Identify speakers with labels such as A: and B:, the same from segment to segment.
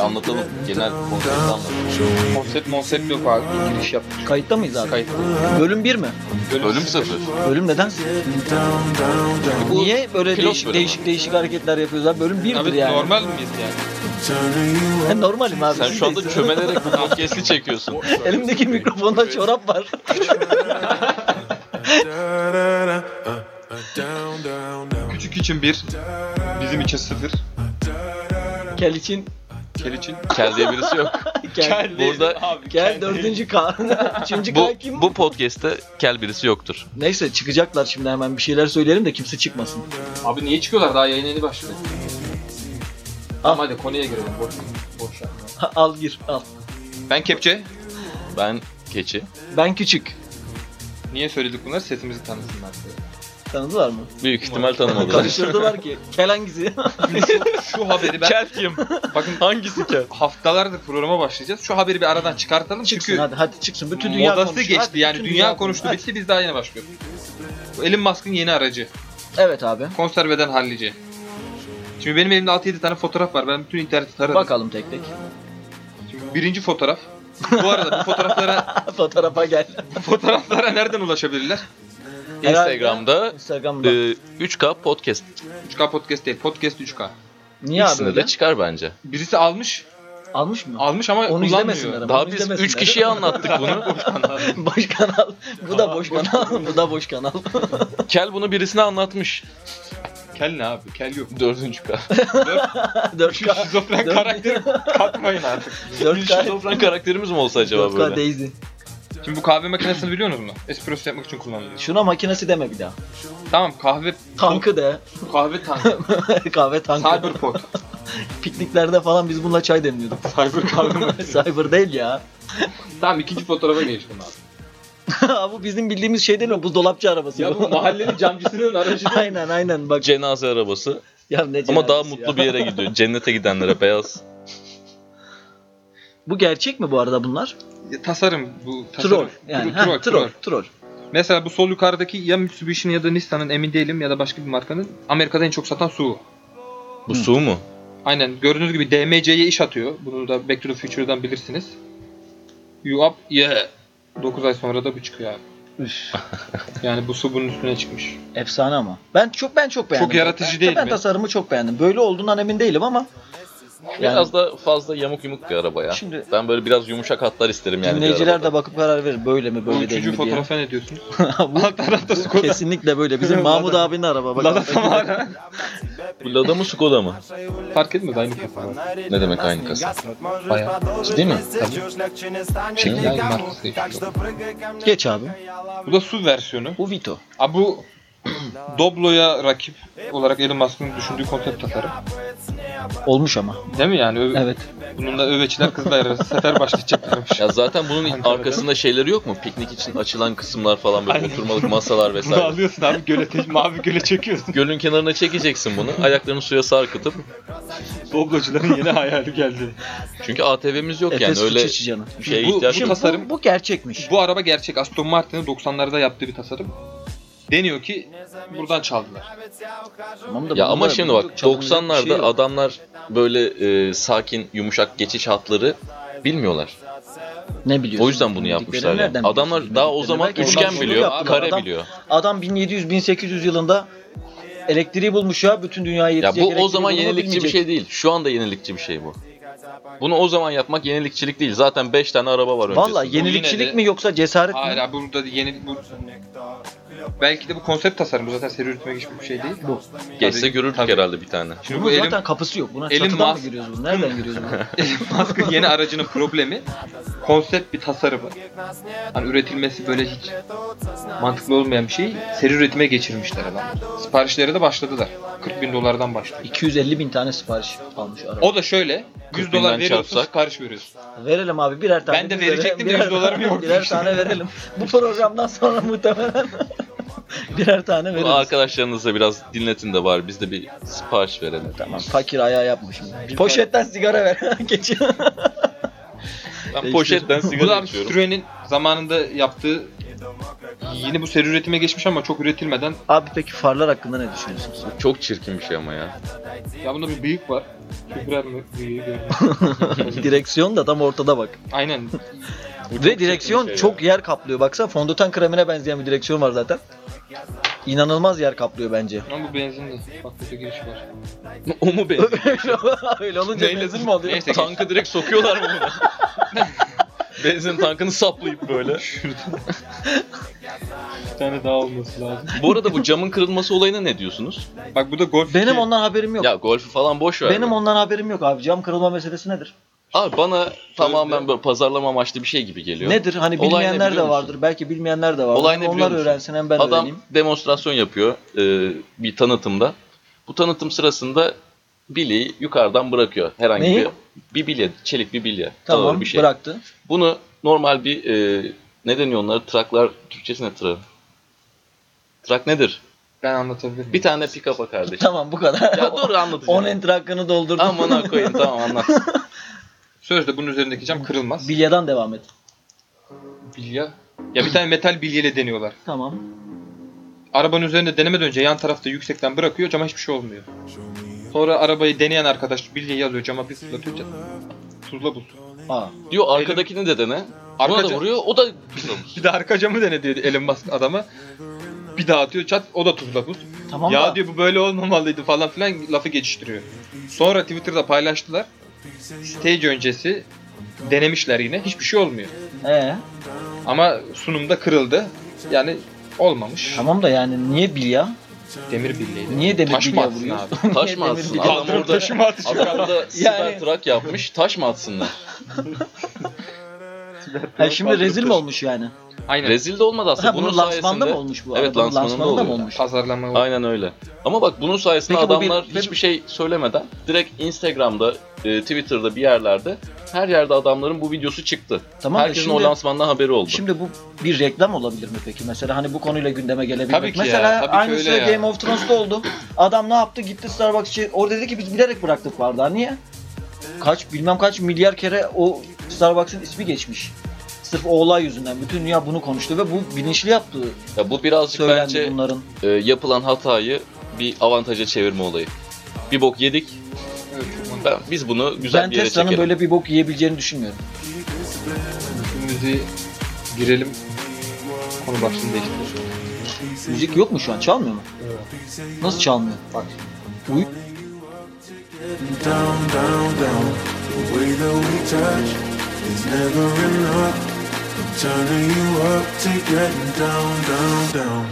A: anlatalım. Genel konsepti anlatalım.
B: Konsept konsept yok abi. Bir giriş yap.
C: Kayıtta mıyız abi?
B: Kayıt.
C: Bölüm 1 mi?
A: Bölüm sıfır.
B: şey
C: Bölüm neden?
B: Bu
C: Niye böyle
A: pilot
C: değişik
A: bölümü.
C: değişik değişik hareketler yapıyoruz abi? Bölüm 1'dir
B: Abi
C: yani.
B: normal miyiz yani?
C: Ben normalim abi.
A: Sen
C: siz
A: şu anda
C: deyiz.
A: çömelerek podcast'i çekiyorsun.
C: Elimdeki mikrofonda çorap var.
D: uh,
B: Küçük için bir, bizim için sıfır.
C: Kel için.
B: Kel için.
A: Kel diye birisi yok.
C: Kel.
A: Burada-
B: abi,
C: Kel dördüncü K. Üçüncü
A: Bu,
C: K kim?
A: bu podcast'te kel birisi yoktur.
C: Neyse çıkacaklar şimdi hemen bir şeyler söyleyelim de kimse çıkmasın.
B: Abi niye çıkıyorlar daha yayın yeni başladı. Tamam hadi konuya girelim. Boş, boş yapma.
C: Ha, al gir al.
B: Ben kepçe.
A: Ben keçi.
C: Ben küçük.
B: Niye söyledik bunları? Sesimizi tanısınlar diye.
C: Tanıdılar mı?
A: Büyük ihtimal tanımadılar.
C: Karıştırdılar ki. Kel hangisi?
B: Şu haberi ben...
A: kel kim?
B: bakın
A: Hangisi kel?
B: haftalardır programa başlayacağız. Şu haberi bir aradan çıkartalım.
C: çıksın
B: çünkü
C: hadi hadi çıksın. Bütün dünya
B: modası
C: konuştu.
B: geçti
C: Hadi,
B: yani
C: bütün
B: dünya, konuştu
C: Hadi.
B: bitti biz daha yeni başlıyoruz. Bu Elon Musk'ın yeni aracı.
C: Evet abi.
B: Konserveden hallice. Şimdi benim elimde 6-7 tane fotoğraf var. Ben bütün interneti taradım.
C: Bakalım tek tek.
B: Şimdi birinci fotoğraf. Bu arada bu fotoğraflara
C: Fotoğrafa gel.
B: bu fotoğraflara nereden ulaşabilirler?
A: Instagram'da
C: Instagram'da.
A: e, 3K podcast.
B: 3K podcast değil. Podcast 3K.
C: Niye abi
A: İkisinde
C: öyle?
A: de çıkar bence.
B: Birisi almış.
C: Almış mı?
B: Almış ama
C: Onu izlemesinler
B: kullanmıyor.
C: ama.
A: Daha
C: onu
A: biz
C: izlemesinler.
A: 3 kişiye anlattık bunu.
C: boş kanal. Bu da boş kanal. Bu da boş kanal.
A: Kel bunu birisine anlatmış.
B: Kel ne abi? Kel yok.
A: Dördüncü K.
B: Şu
C: 4K.
B: şizofren
C: Dört-
B: karakteri katmayın artık.
A: Bir
C: 4K.
A: şizofren karakterimiz mi olsa acaba
C: 4K
A: böyle?
C: Daisy.
B: Şimdi bu kahve makinesini biliyor musunuz? mu? Espresso yapmak için kullanılıyor.
C: Şuna makinesi deme bir daha.
B: Tamam kahve
C: Tankı de.
B: kahve tankı.
C: Kahve tankı.
B: Cyberpod.
C: Pikniklerde falan biz bununla çay demliyorduk.
B: Cyber kahve makinesi.
C: Cyber değil ya.
B: tamam ikinci fotoğrafa geçtim abi.
C: bu bizim bildiğimiz şey değil mi? Buzdolapçı arabası.
B: Ya bu mahallenin camcısının aracı değil.
C: aynen aynen bak.
A: Cenaze arabası.
C: Ya ne
A: Ama daha
C: cenazesi
A: mutlu
C: ya.
A: bir yere gidiyor. Cennete gidenlere beyaz.
C: Bu gerçek mi bu arada bunlar?
B: Ya tasarım bu tasarım.
C: Troll. Yani
B: Tro-
C: ha, troll, troll.
B: Mesela bu sol yukarıdaki ya Mitsubishi'nin ya da Nissan'ın emin değilim ya da başka bir markanın Amerika'da en çok satan su.
A: Bu su mu?
B: Aynen gördüğünüz gibi DMC'ye iş atıyor. Bunu da Back to the Future'dan bilirsiniz. You up yeah. 9 ay sonra da bu çıkıyor abi. yani bu su bunun üstüne çıkmış.
C: Efsane ama. Ben çok ben çok beğendim.
B: yaratıcı
C: ben,
B: değil
C: ben
B: mi?
C: tasarımı çok beğendim. Böyle olduğundan emin değilim ama
A: Biraz da fazla yamuk yumuk bir araba ya.
C: Şimdi-
A: ben böyle biraz yumuşak hatlar isterim yani. bir
C: dinleyiciler
A: arabada.
C: de bakıp karar verir. Böyle mi
B: Bu
C: böyle değil
B: üçüncü
C: mi diye.
B: fotoğrafa ne diyorsunuz?
C: Bu-
B: Alt
C: bu
B: tarafta Skoda.
C: kesinlikle böyle. Bizim Mahmut abinin araba. Bak,
B: Lada Samara.
A: Bu Lada mı Skoda mı?
B: Fark etmedi aynı kafa.
A: Ne demek aynı kasa?
B: Bayağı.
A: Değil mi? Tabii.
B: Şey, yani markası değişiyor.
C: Geç abi.
B: Bu da su versiyonu.
C: Bu Vito.
B: Abi bu Doblo'ya rakip olarak Elon Musk'ın düşündüğü konsept tasarım.
C: Olmuş ama.
B: Değil mi yani? Ö-
C: Evet.
B: Bununla öveçiler kızla arası sefer başlayacaklarmış.
A: Ya zaten bunun
B: Ankara'da.
A: arkasında şeyleri yok mu? Piknik için açılan kısımlar falan böyle
B: Aynen.
A: oturmalık masalar
B: Bunu
A: vesaire.
B: alıyorsun abi göle, te- mavi göle çekiyorsun.
A: Gölün kenarına çekeceksin bunu. Ayaklarını suya sarkıtıp.
B: Doblocuların yeni hayali geldi.
A: Çünkü ATV'miz yok yani
C: Efes
A: öyle
C: öyle... canım.
A: bir şey- şeye
B: Bu-
A: ihtiyaç
B: bu
A: yok.
B: tasarım-
C: E, Bu, bu gerçekmiş.
B: Bu araba gerçek. Aston Martin'in 90'larda yaptığı bir tasarım. Deniyor ki buradan çaldılar.
C: Tamam da
A: Ya
C: bu-
A: ama
C: bu-
A: şimdi
C: bu-
A: bak
C: çalınacak bir şey
A: 90'larda
C: yok.
A: adamlar böyle e, sakin yumuşak geçiş hatları bilmiyorlar.
C: ne biliyorsun?
A: O yüzden bunu
C: Bildiklerini
A: yapmışlar yani.
C: nereden
A: Adamlar
C: biliyorsun?
A: daha o
C: Bildiklerini
A: zaman
C: belki
A: üçgen
C: ondan
A: biliyor,
C: sonra
A: kare
C: yaptılar.
A: biliyor.
C: Adam 1700-1800 yılında elektriği bulmuş ya bütün dünyayı
A: Ya
C: yetecek.
A: bu o
C: elektriği
A: zaman
C: bulma
A: yenilikçi bir
C: bilmeyecek.
A: şey değil. Şu anda yenilikçi bir şey bu. Bunu o zaman yapmak yenilikçilik değil. Zaten 5 tane araba var öncesinde.
C: Valla
B: Yine de-
C: yenilikçilik mi yoksa cesaret mi?
B: Hayır abi bunu da yeni... Bu... Belki de bu konsept tasarım. Bu zaten seri üretime geçmiş bir şey değil. Bu.
A: Geçse
B: Tabii,
A: görürdük
B: tabii.
A: herhalde bir tane.
B: Şimdi bu
C: Bunun
B: Elon,
C: zaten kapısı yok. Buna
B: Elon
C: çatıdan
B: Musk-
C: mı giriyoruz bunu? Nereden giriyoruz bunu?
B: Elon Musk'ın yeni aracının problemi konsept bir tasarımı. Hani üretilmesi böyle hiç mantıklı olmayan bir şeyi seri üretime geçirmişler adamlar. Siparişlere de başladılar. 40 bin dolardan başlıyor.
C: 250 bin tane sipariş almış araba.
B: O da şöyle 100
A: binden
B: dolar veriyorsun
A: çarpsak.
B: sipariş veriyorsun.
C: Verelim abi birer tane.
B: Ben de
C: birer-
B: verecektim de
C: birer-
B: 100 dolarım yok.
C: Birer tane verelim. Bu programdan sonra muhtemelen birer tane
A: Bunu
C: veririz.
A: arkadaşlarınıza biraz dinletin de var. Biz de bir sipariş verelim.
C: Tamam fakir ayağı yapmışım. Poşetten sigara ver. Geçin.
A: Ben poşetten
B: Bu da
A: sigara
B: abi
A: içiyorum.
B: Citroen'in zamanında yaptığı yeni bu seri üretime geçmiş ama çok üretilmeden
C: Abi peki farlar hakkında ne düşünüyorsunuz?
A: Çok çirkin bir şey ama ya.
B: ya bunda bir büyük var. Kübra mı büyüğü görmek.
C: Direksiyon da tam ortada bak.
B: Aynen.
C: Ve direksiyon
A: şey
C: çok yer kaplıyor. Baksana fondöten kremine benzeyen bir direksiyon var zaten. İnanılmaz yer kaplıyor bence.
B: Ama bu benzinli. Bak burada giriş var.
A: O mu be?
C: Öyle olunca
A: Neyle-
C: benzin mi oluyor?
B: Neyse.
A: Tankı direkt sokuyorlar mı buna? Benzin tankını saplayıp böyle.
B: Bir tane daha olması lazım.
A: Bu arada bu camın kırılması olayına ne diyorsunuz?
B: Bak bu da golf.
C: Benim
B: iki.
C: ondan haberim yok.
A: Ya golfü falan boş ver.
C: Benim
A: be.
C: ondan haberim yok abi. Cam kırılma meselesi nedir?
A: Abi bana tamamen böyle pazarlama amaçlı bir şey gibi geliyor.
C: Nedir? Hani
A: Olay ne
C: bilmeyenler
A: biliyor
C: de
A: musun?
C: vardır. Belki bilmeyenler de vardır.
A: Olay ne biliyor
C: Onlar
A: musun?
C: öğrensin hem ben
A: Adam
C: öğreneyim.
A: demonstrasyon yapıyor e, bir tanıtımda. Bu tanıtım sırasında bileği yukarıdan bırakıyor herhangi
C: Neyi?
A: bir bir bilye, çelik bir bilye.
C: Tamam
A: Ağır bir şey.
C: bıraktı.
A: Bunu normal bir e, ne deniyor onlara? Traklar Türkçesi ne trak? Trak nedir?
B: Ben anlatabilirim.
A: Bir tane pick-up'a kardeşim.
C: Tamam bu kadar.
A: ya dur anlatacağım.
C: 10 enter hakkını doldurdum.
A: Amına koyayım tamam anlat.
B: Sözde bunun üzerindeki cam kırılmaz.
C: Bilyadan devam et.
B: Bilya. Ya bir tane metal bilyeyle deniyorlar.
C: Tamam.
B: Arabanın üzerinde denemeden önce yan tarafta yüksekten bırakıyor cama hiçbir şey olmuyor. Sonra arabayı deneyen arkadaş bilyeyi yazıyor cama bir fırlatıyor cam. Tuzla buz.
C: Aa.
A: Diyor arkadakini de dene. Buna
B: Arka
A: da
B: ca-
A: vuruyor o da şey
B: bir de arka camı dene diyor Elon Musk adama. Bir daha atıyor çat o da tuzla buz.
C: Tamam
B: ya
C: da.
B: diyor bu böyle olmamalıydı falan filan lafı geçiştiriyor. Sonra Twitter'da paylaştılar. Stage öncesi denemişler yine hiçbir şey olmuyor.
C: Ee,
B: Ama sunumda kırıldı. Yani olmamış.
C: tamam da yani niye bilya?
B: Demir bilyeydi.
C: Niye demir
B: Taş mı
C: bilye
B: atsın
C: vuruyorsun?
B: abi?
A: taş mı
C: Demir
A: atsın?
C: bilye.
A: Adam
B: Kaldırım
A: orada,
B: taşı mı atacak
A: adam orada siber
C: Yani-
A: trak yapmış taş mı atsınlar?
C: Ha, şimdi
B: Kaldırım
C: rezil mi
B: taşı.
C: olmuş yani?
B: Aynen.
A: Rezil de olmadı aslında.
C: Ha, bunun lansmanında mı olmuş bu?
A: Evet,
C: Adamın
A: lansmanında
C: mı
A: oluyor.
C: olmuş?
B: Pazarlama var.
A: Aynen öyle. Ama bak bunun sayesinde
C: Peki bu bir-
A: adamlar
C: bir-
A: hiçbir şey söylemeden direkt Instagram'da, e, Twitter'da bir yerlerde her yerde adamların bu videosu çıktı.
C: Tamam da
A: Herkesin
C: şimdi-
A: o lansmandan haberi oldu.
C: Şimdi bu bir reklam olabilir mi peki? Mesela hani bu konuyla gündeme gelebilmek.
B: Tabii ki ya,
C: Mesela
B: tabii ki
C: aynısı
B: öyle ya.
C: Game of Thrones'ta oldu. Adam ne yaptı? Gitti Starbucks'ı. Orada dedi ki biz bilerek bıraktık bardağı. Niye? Kaç bilmem kaç milyar kere o Starbucks'ın ismi geçmiş. Sırf o olay yüzünden. Bütün dünya bunu konuştu ve bu bilinçli yaptığı
A: ya bu birazcık
C: söylendi
A: bence
C: bunların.
A: e, yapılan hatayı bir avantaja çevirme olayı. Bir bok yedik.
B: Evet, çok
A: Ben, biz bunu güzel
C: Ben
A: bir yere
C: Tesla'nın
A: çekelim.
C: böyle bir bok yiyebileceğini düşünmüyorum.
B: mantıklı. Müziği girelim. Konu başlığını değiştirelim.
C: Müzik yok mu şu an? Çalmıyor mu? Nasıl çalmıyor?
B: Bak.
C: Uy-
D: down, down, down. The way that we touch is never enough. I'm turning you up to getting down, down, down.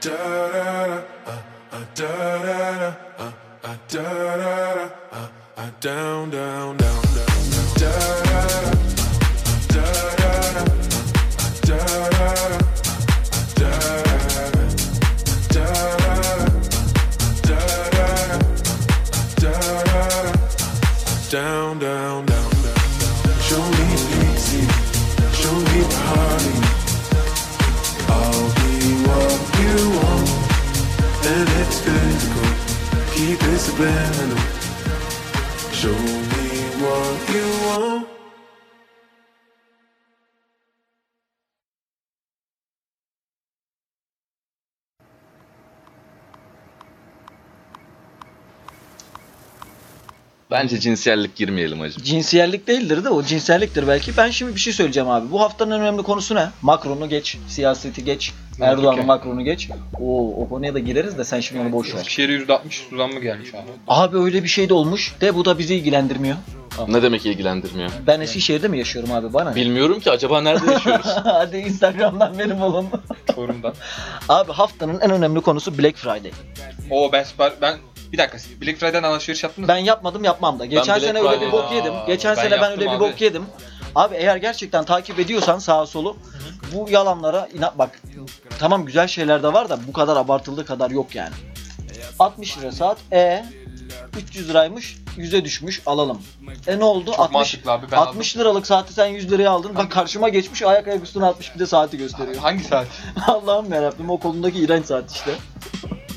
D: Da da da, uh, uh, da da da, uh, uh, da da da, uh, uh, down, down, down, down. Da da da, uh, da da da, uh, uh, da da da, uh, da da da, da da da. Down, down, down, down. Show me easy, show me party. I'll be what you want, and it's physical. Keep it subliminal. Show me what you want.
A: Bence cinsellik girmeyelim hacım.
C: Cinsiyellik değildir de o cinselliktir belki. Ben şimdi bir şey söyleyeceğim abi. Bu haftanın en önemli konusu ne? Macron'u geç, siyaseti geç,
B: Merkel.
C: Erdoğan'ı Macron'u geç. Oo, o konuya da gireriz de sen şimdi onu boş ver.
B: Eskişehir'e %60 sudan mı gelmiş abi?
C: Abi öyle bir şey de olmuş de bu da bizi ilgilendirmiyor.
A: Ne demek ilgilendirmiyor?
C: Ben Eskişehir'de mi yaşıyorum abi bana? ne?
A: Bilmiyorum ki acaba nerede yaşıyoruz?
C: Hadi Instagram'dan benim olun.
B: Çorum'dan.
C: Abi haftanın en önemli konusu Black Friday.
B: Oo ben süper... Ben... Bir dakika siz Black Friday'den alışveriş yaptınız mı?
C: Ben yapmadım yapmam da. Geçen
A: Black
C: sene öyle
A: Friday'de-
C: bir bok yedim.
B: Aa,
C: Geçen
B: ben
C: sene ben
B: yaptım
C: öyle bir
B: abi.
C: bok yedim. Abi eğer gerçekten takip ediyorsan sağa solu bu yalanlara inat bak. Tamam güzel şeyler de var da bu kadar abartıldığı kadar yok yani. 60 lira saat e 300 liraymış 100'e düşmüş alalım. E ne oldu?
B: Çok
C: 60
B: mantıklı abi ben
C: 60 liralık saati sen 100 liraya aldın. Bak karşıma geçmiş ayak ayak üstüne atmış bir de saati
B: aldım.
C: gösteriyor.
B: Hangi saat?
C: Allah'ım yarabbim o kolundaki iğrenç saat işte.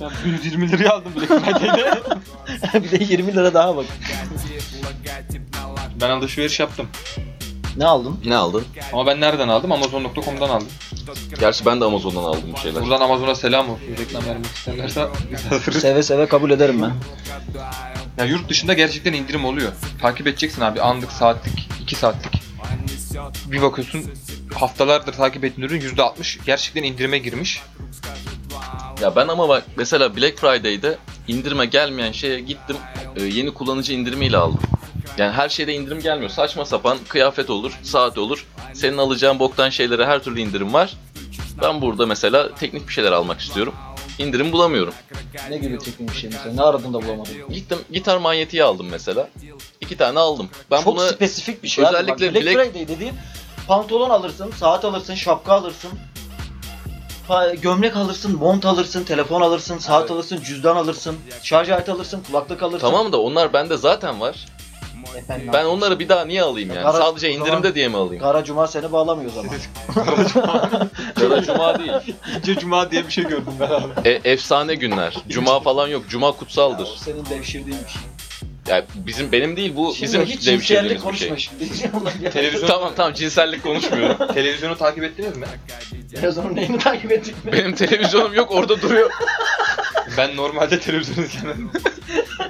B: Ben 120 liraya aldım Black Friday'de.
C: bir de 20 lira daha bak.
B: ben alışveriş yaptım.
C: Ne aldın?
A: ne aldın?
B: Ama ben nereden aldım? Amazon.com'dan aldım.
A: Gerçi ben de Amazon'dan aldım bir şeyler.
B: Buradan Amazon'a selam olsun. Reklam vermek isterlerse biz hazırız.
C: Seve seve kabul ederim ben.
B: Ya yurt dışında gerçekten indirim oluyor. Takip edeceksin abi. Anlık, saatlik, 2 saatlik. Bir bakıyorsun haftalardır takip ettiğin ürün %60 gerçekten indirime girmiş.
A: Ya ben ama bak mesela Black Friday'de indirime gelmeyen şeye gittim e, yeni kullanıcı indirimiyle aldım. Yani her şeyde indirim gelmiyor. Saçma sapan kıyafet olur, saat olur. Senin alacağın boktan şeylere her türlü indirim var. Ben burada mesela teknik bir şeyler almak istiyorum. İndirim bulamıyorum.
C: Ne gibi teknik bir şey mesela? Ne aradın da bulamadın?
A: Gittim gitar manyetiği aldım mesela. İki tane aldım. Ben
C: Çok
A: bunu
C: spesifik bir şey. Özellikle
A: özellikle
C: Black,
A: Black-
C: Friday dediğin pantolon alırsın, saat alırsın, şapka alırsın. pa- Gömlek alırsın, mont alırsın, telefon alırsın, saat alırsın, cüzdan alırsın, şarj aleti alırsın, kulaklık alırsın.
A: tamam da onlar bende zaten var.
C: Efendim,
A: Ben onları bir daha niye alayım yani?
C: Kara-
A: Sadece
C: Tamam.
A: indirimde diye mi alayım?
C: Kara Cuma seni bağlamıyor o zaman.
A: Ya da cuma değil.
B: İnce cuma diye bir şey gördüm ben abi.
A: E, efsane günler. Cuma falan yok. Cuma
C: Ya, o
A: kutsaldır.
C: senin devşirdiğin bir şey.
A: Ya bizim benim değil bu
C: Şimdi
A: bizim
C: hiç cinsellik
A: devşirdiğimiz bir
C: konuşma
A: şey.
C: şimdi.
B: Televizyon,
A: tamam tamam cinsellik konuşmuyorum.
B: televizyonu takip ettiniz mi?
C: Televizyonun neyini takip ettik mi?
A: benim televizyonum yok orada duruyor.
B: Ben normalde televizyon izlemem.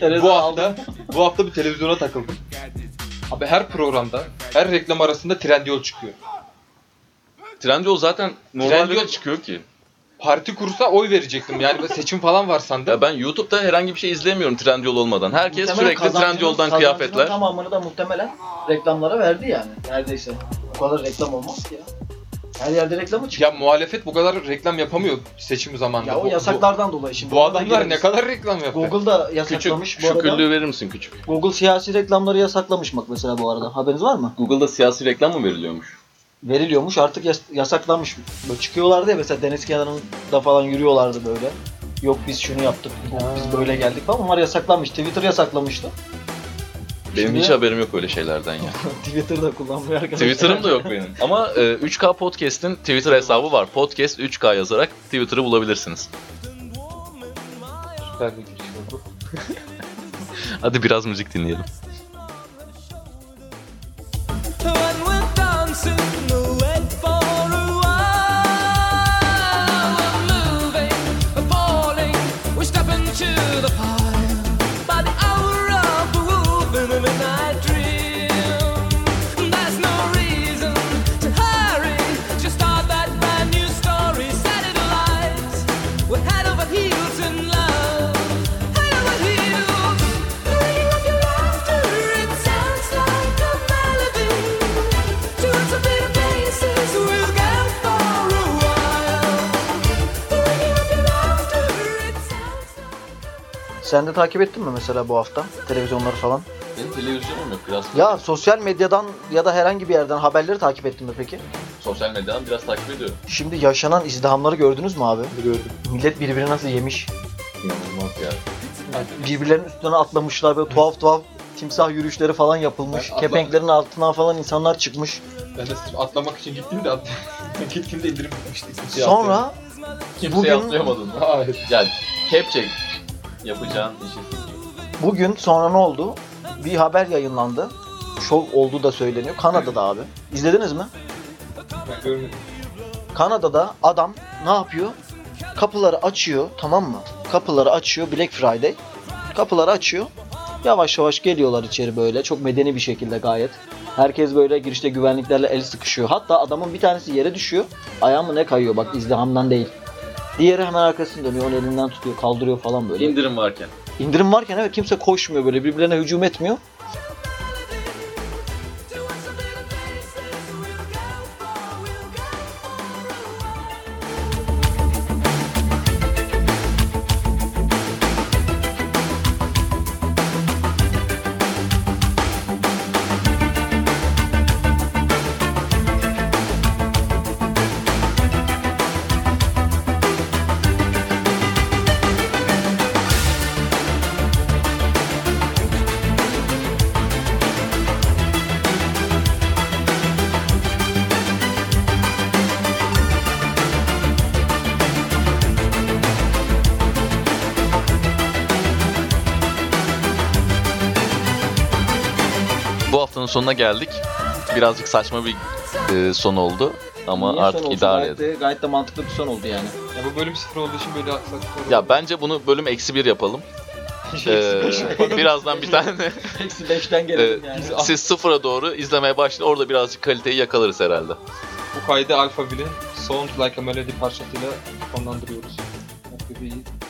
C: Televizyon
B: bu
C: aldım.
B: hafta bu hafta bir televizyona takıldım. Abi her programda, her reklam arasında Trendyol çıkıyor.
A: Trendyol zaten
B: Normalde-
A: Trendyol çıkıyor ki.
B: Parti kursa oy verecektim. Yani seçim falan var sandım.
A: Ya ben YouTube'da herhangi bir şey izleyemiyorum Trendyol olmadan. Herkes
C: Muhtemelen
A: sürekli
C: kazancının-
A: Trendyol'dan
C: kazancının
A: kıyafetler.
C: tamamını da muhtemelen reklamlara verdi yani. Neredeyse. O kadar reklam olmaz ki ya. Her yerde reklamı çıkıyor.
B: Ya muhalefet bu kadar reklam yapamıyor seçim zamanında.
C: Ya o
B: Bu-
C: yasaklardan dolayı
B: Bu,
C: şimdi.
B: bu
C: ona da
B: adamlar ne
C: gireriz.
B: kadar reklam yapıyor?
C: Google da
A: Küçük
C: yasaklamış
A: şu
C: bu arada.
A: küllüğü verir misin küçük?
C: Google siyasi reklamları yasaklamış bak mesela bu arada. Haberiniz var mı?
A: Google'da siyasi reklam mı veriliyormuş?
C: Veriliyormuş artık yas- yasaklanmış. Böyle çıkıyorlardı ya mesela deniz kenarında falan yürüyorlardı böyle. Yok biz şunu yaptık, yok biz böyle geldik falan. Onlar yasaklanmış. Twitter yasaklamıştı.
A: Benim
C: Şimdi-
A: hiç haberim yok öyle şeylerden ya.
C: Twitter'da kullanmıyor arkadaşlar.
A: Twitter'ım da yok benim. Ama e, 3K Podcast'in Twitter hesabı var. Podcast 3K yazarak Twitter'ı bulabilirsiniz.
B: Süper bir giriş oldu.
A: Hadi biraz müzik dinleyelim.
E: When we're dancing away for a while, we're moving, we're falling, we're stepping to the pile. By the hour of the wolf in a midnight dream, there's no reason to hurry. Just start that brand new story, set it alight. We're head over heels in love, head over heels. The ringing of your laughter, it sounds like a melody. Two to beat bases, we'll go for a while. The ringing of your laughter, it sounds like.
C: Sen de takip ettin mi mesela bu hafta televizyonları falan?
A: Benim televizyonum yok biraz.
C: Ya sosyal medyadan ya da herhangi bir yerden haberleri takip ettin mi peki?
A: Sosyal medyadan biraz takip ediyorum.
C: Şimdi yaşanan izdihamları gördünüz mü abi?
B: Gördüm.
C: Millet birbirini nasıl yemiş?
A: İnanılmaz ya.
C: Birbirlerinin üstüne atlamışlar böyle tuhaf tuhaf timsah yürüyüşleri falan yapılmış.
B: Ben atla-
C: Kepenklerin altından falan insanlar çıkmış.
B: Ben de sırf atlamak için gittim de at... gittim de indirim gitmişti. Kimseye atlayamadım.
C: Sonra
A: Kimseye
C: Bugün-
A: atlayamadın.
B: Hayır.
A: Yani kepçe yapacağın şey. işi.
C: bugün sonra ne oldu? Bir haber yayınlandı. Şov oldu da söyleniyor. Kanada'da abi. İzlediniz mi?
B: Ben görmedim.
C: Kanada'da adam ne yapıyor? Kapıları açıyor tamam mı? Kapıları açıyor Black Friday. Kapıları açıyor. Yavaş yavaş geliyorlar içeri böyle. Çok medeni bir şekilde gayet. Herkes böyle girişte güvenliklerle el sıkışıyor. Hatta adamın bir tanesi yere düşüyor. Ayağı mı ne kayıyor bak izdihamdan değil. Diğeri hemen arkasını dönüyor. Onu elinden tutuyor kaldırıyor falan böyle.
A: İndirim varken.
C: İndirim varken evet kimse koşmuyor böyle birbirlerine hücum etmiyor.
A: Bu haftanın sonuna geldik. Birazcık saçma bir e, son oldu. Ama
C: Niye son
A: artık
C: olsun?
A: idare
C: gayet
A: edin.
C: de, gayet de mantıklı bir son oldu yani.
B: Ya bu bölüm sıfır olduğu için böyle aksaklıklar
A: Ya bence bunu bölüm eksi bir yapalım. Ee, birazdan bir tane
C: Eksi 5'ten
A: Ee,
C: gelelim yani.
A: siz sıfıra doğru izlemeye başlayın. Orada birazcık kaliteyi yakalarız herhalde.
B: Bu kaydı Alfa bile Sound Like a Melody parçasıyla sonlandırıyoruz. Hakikaten iyi.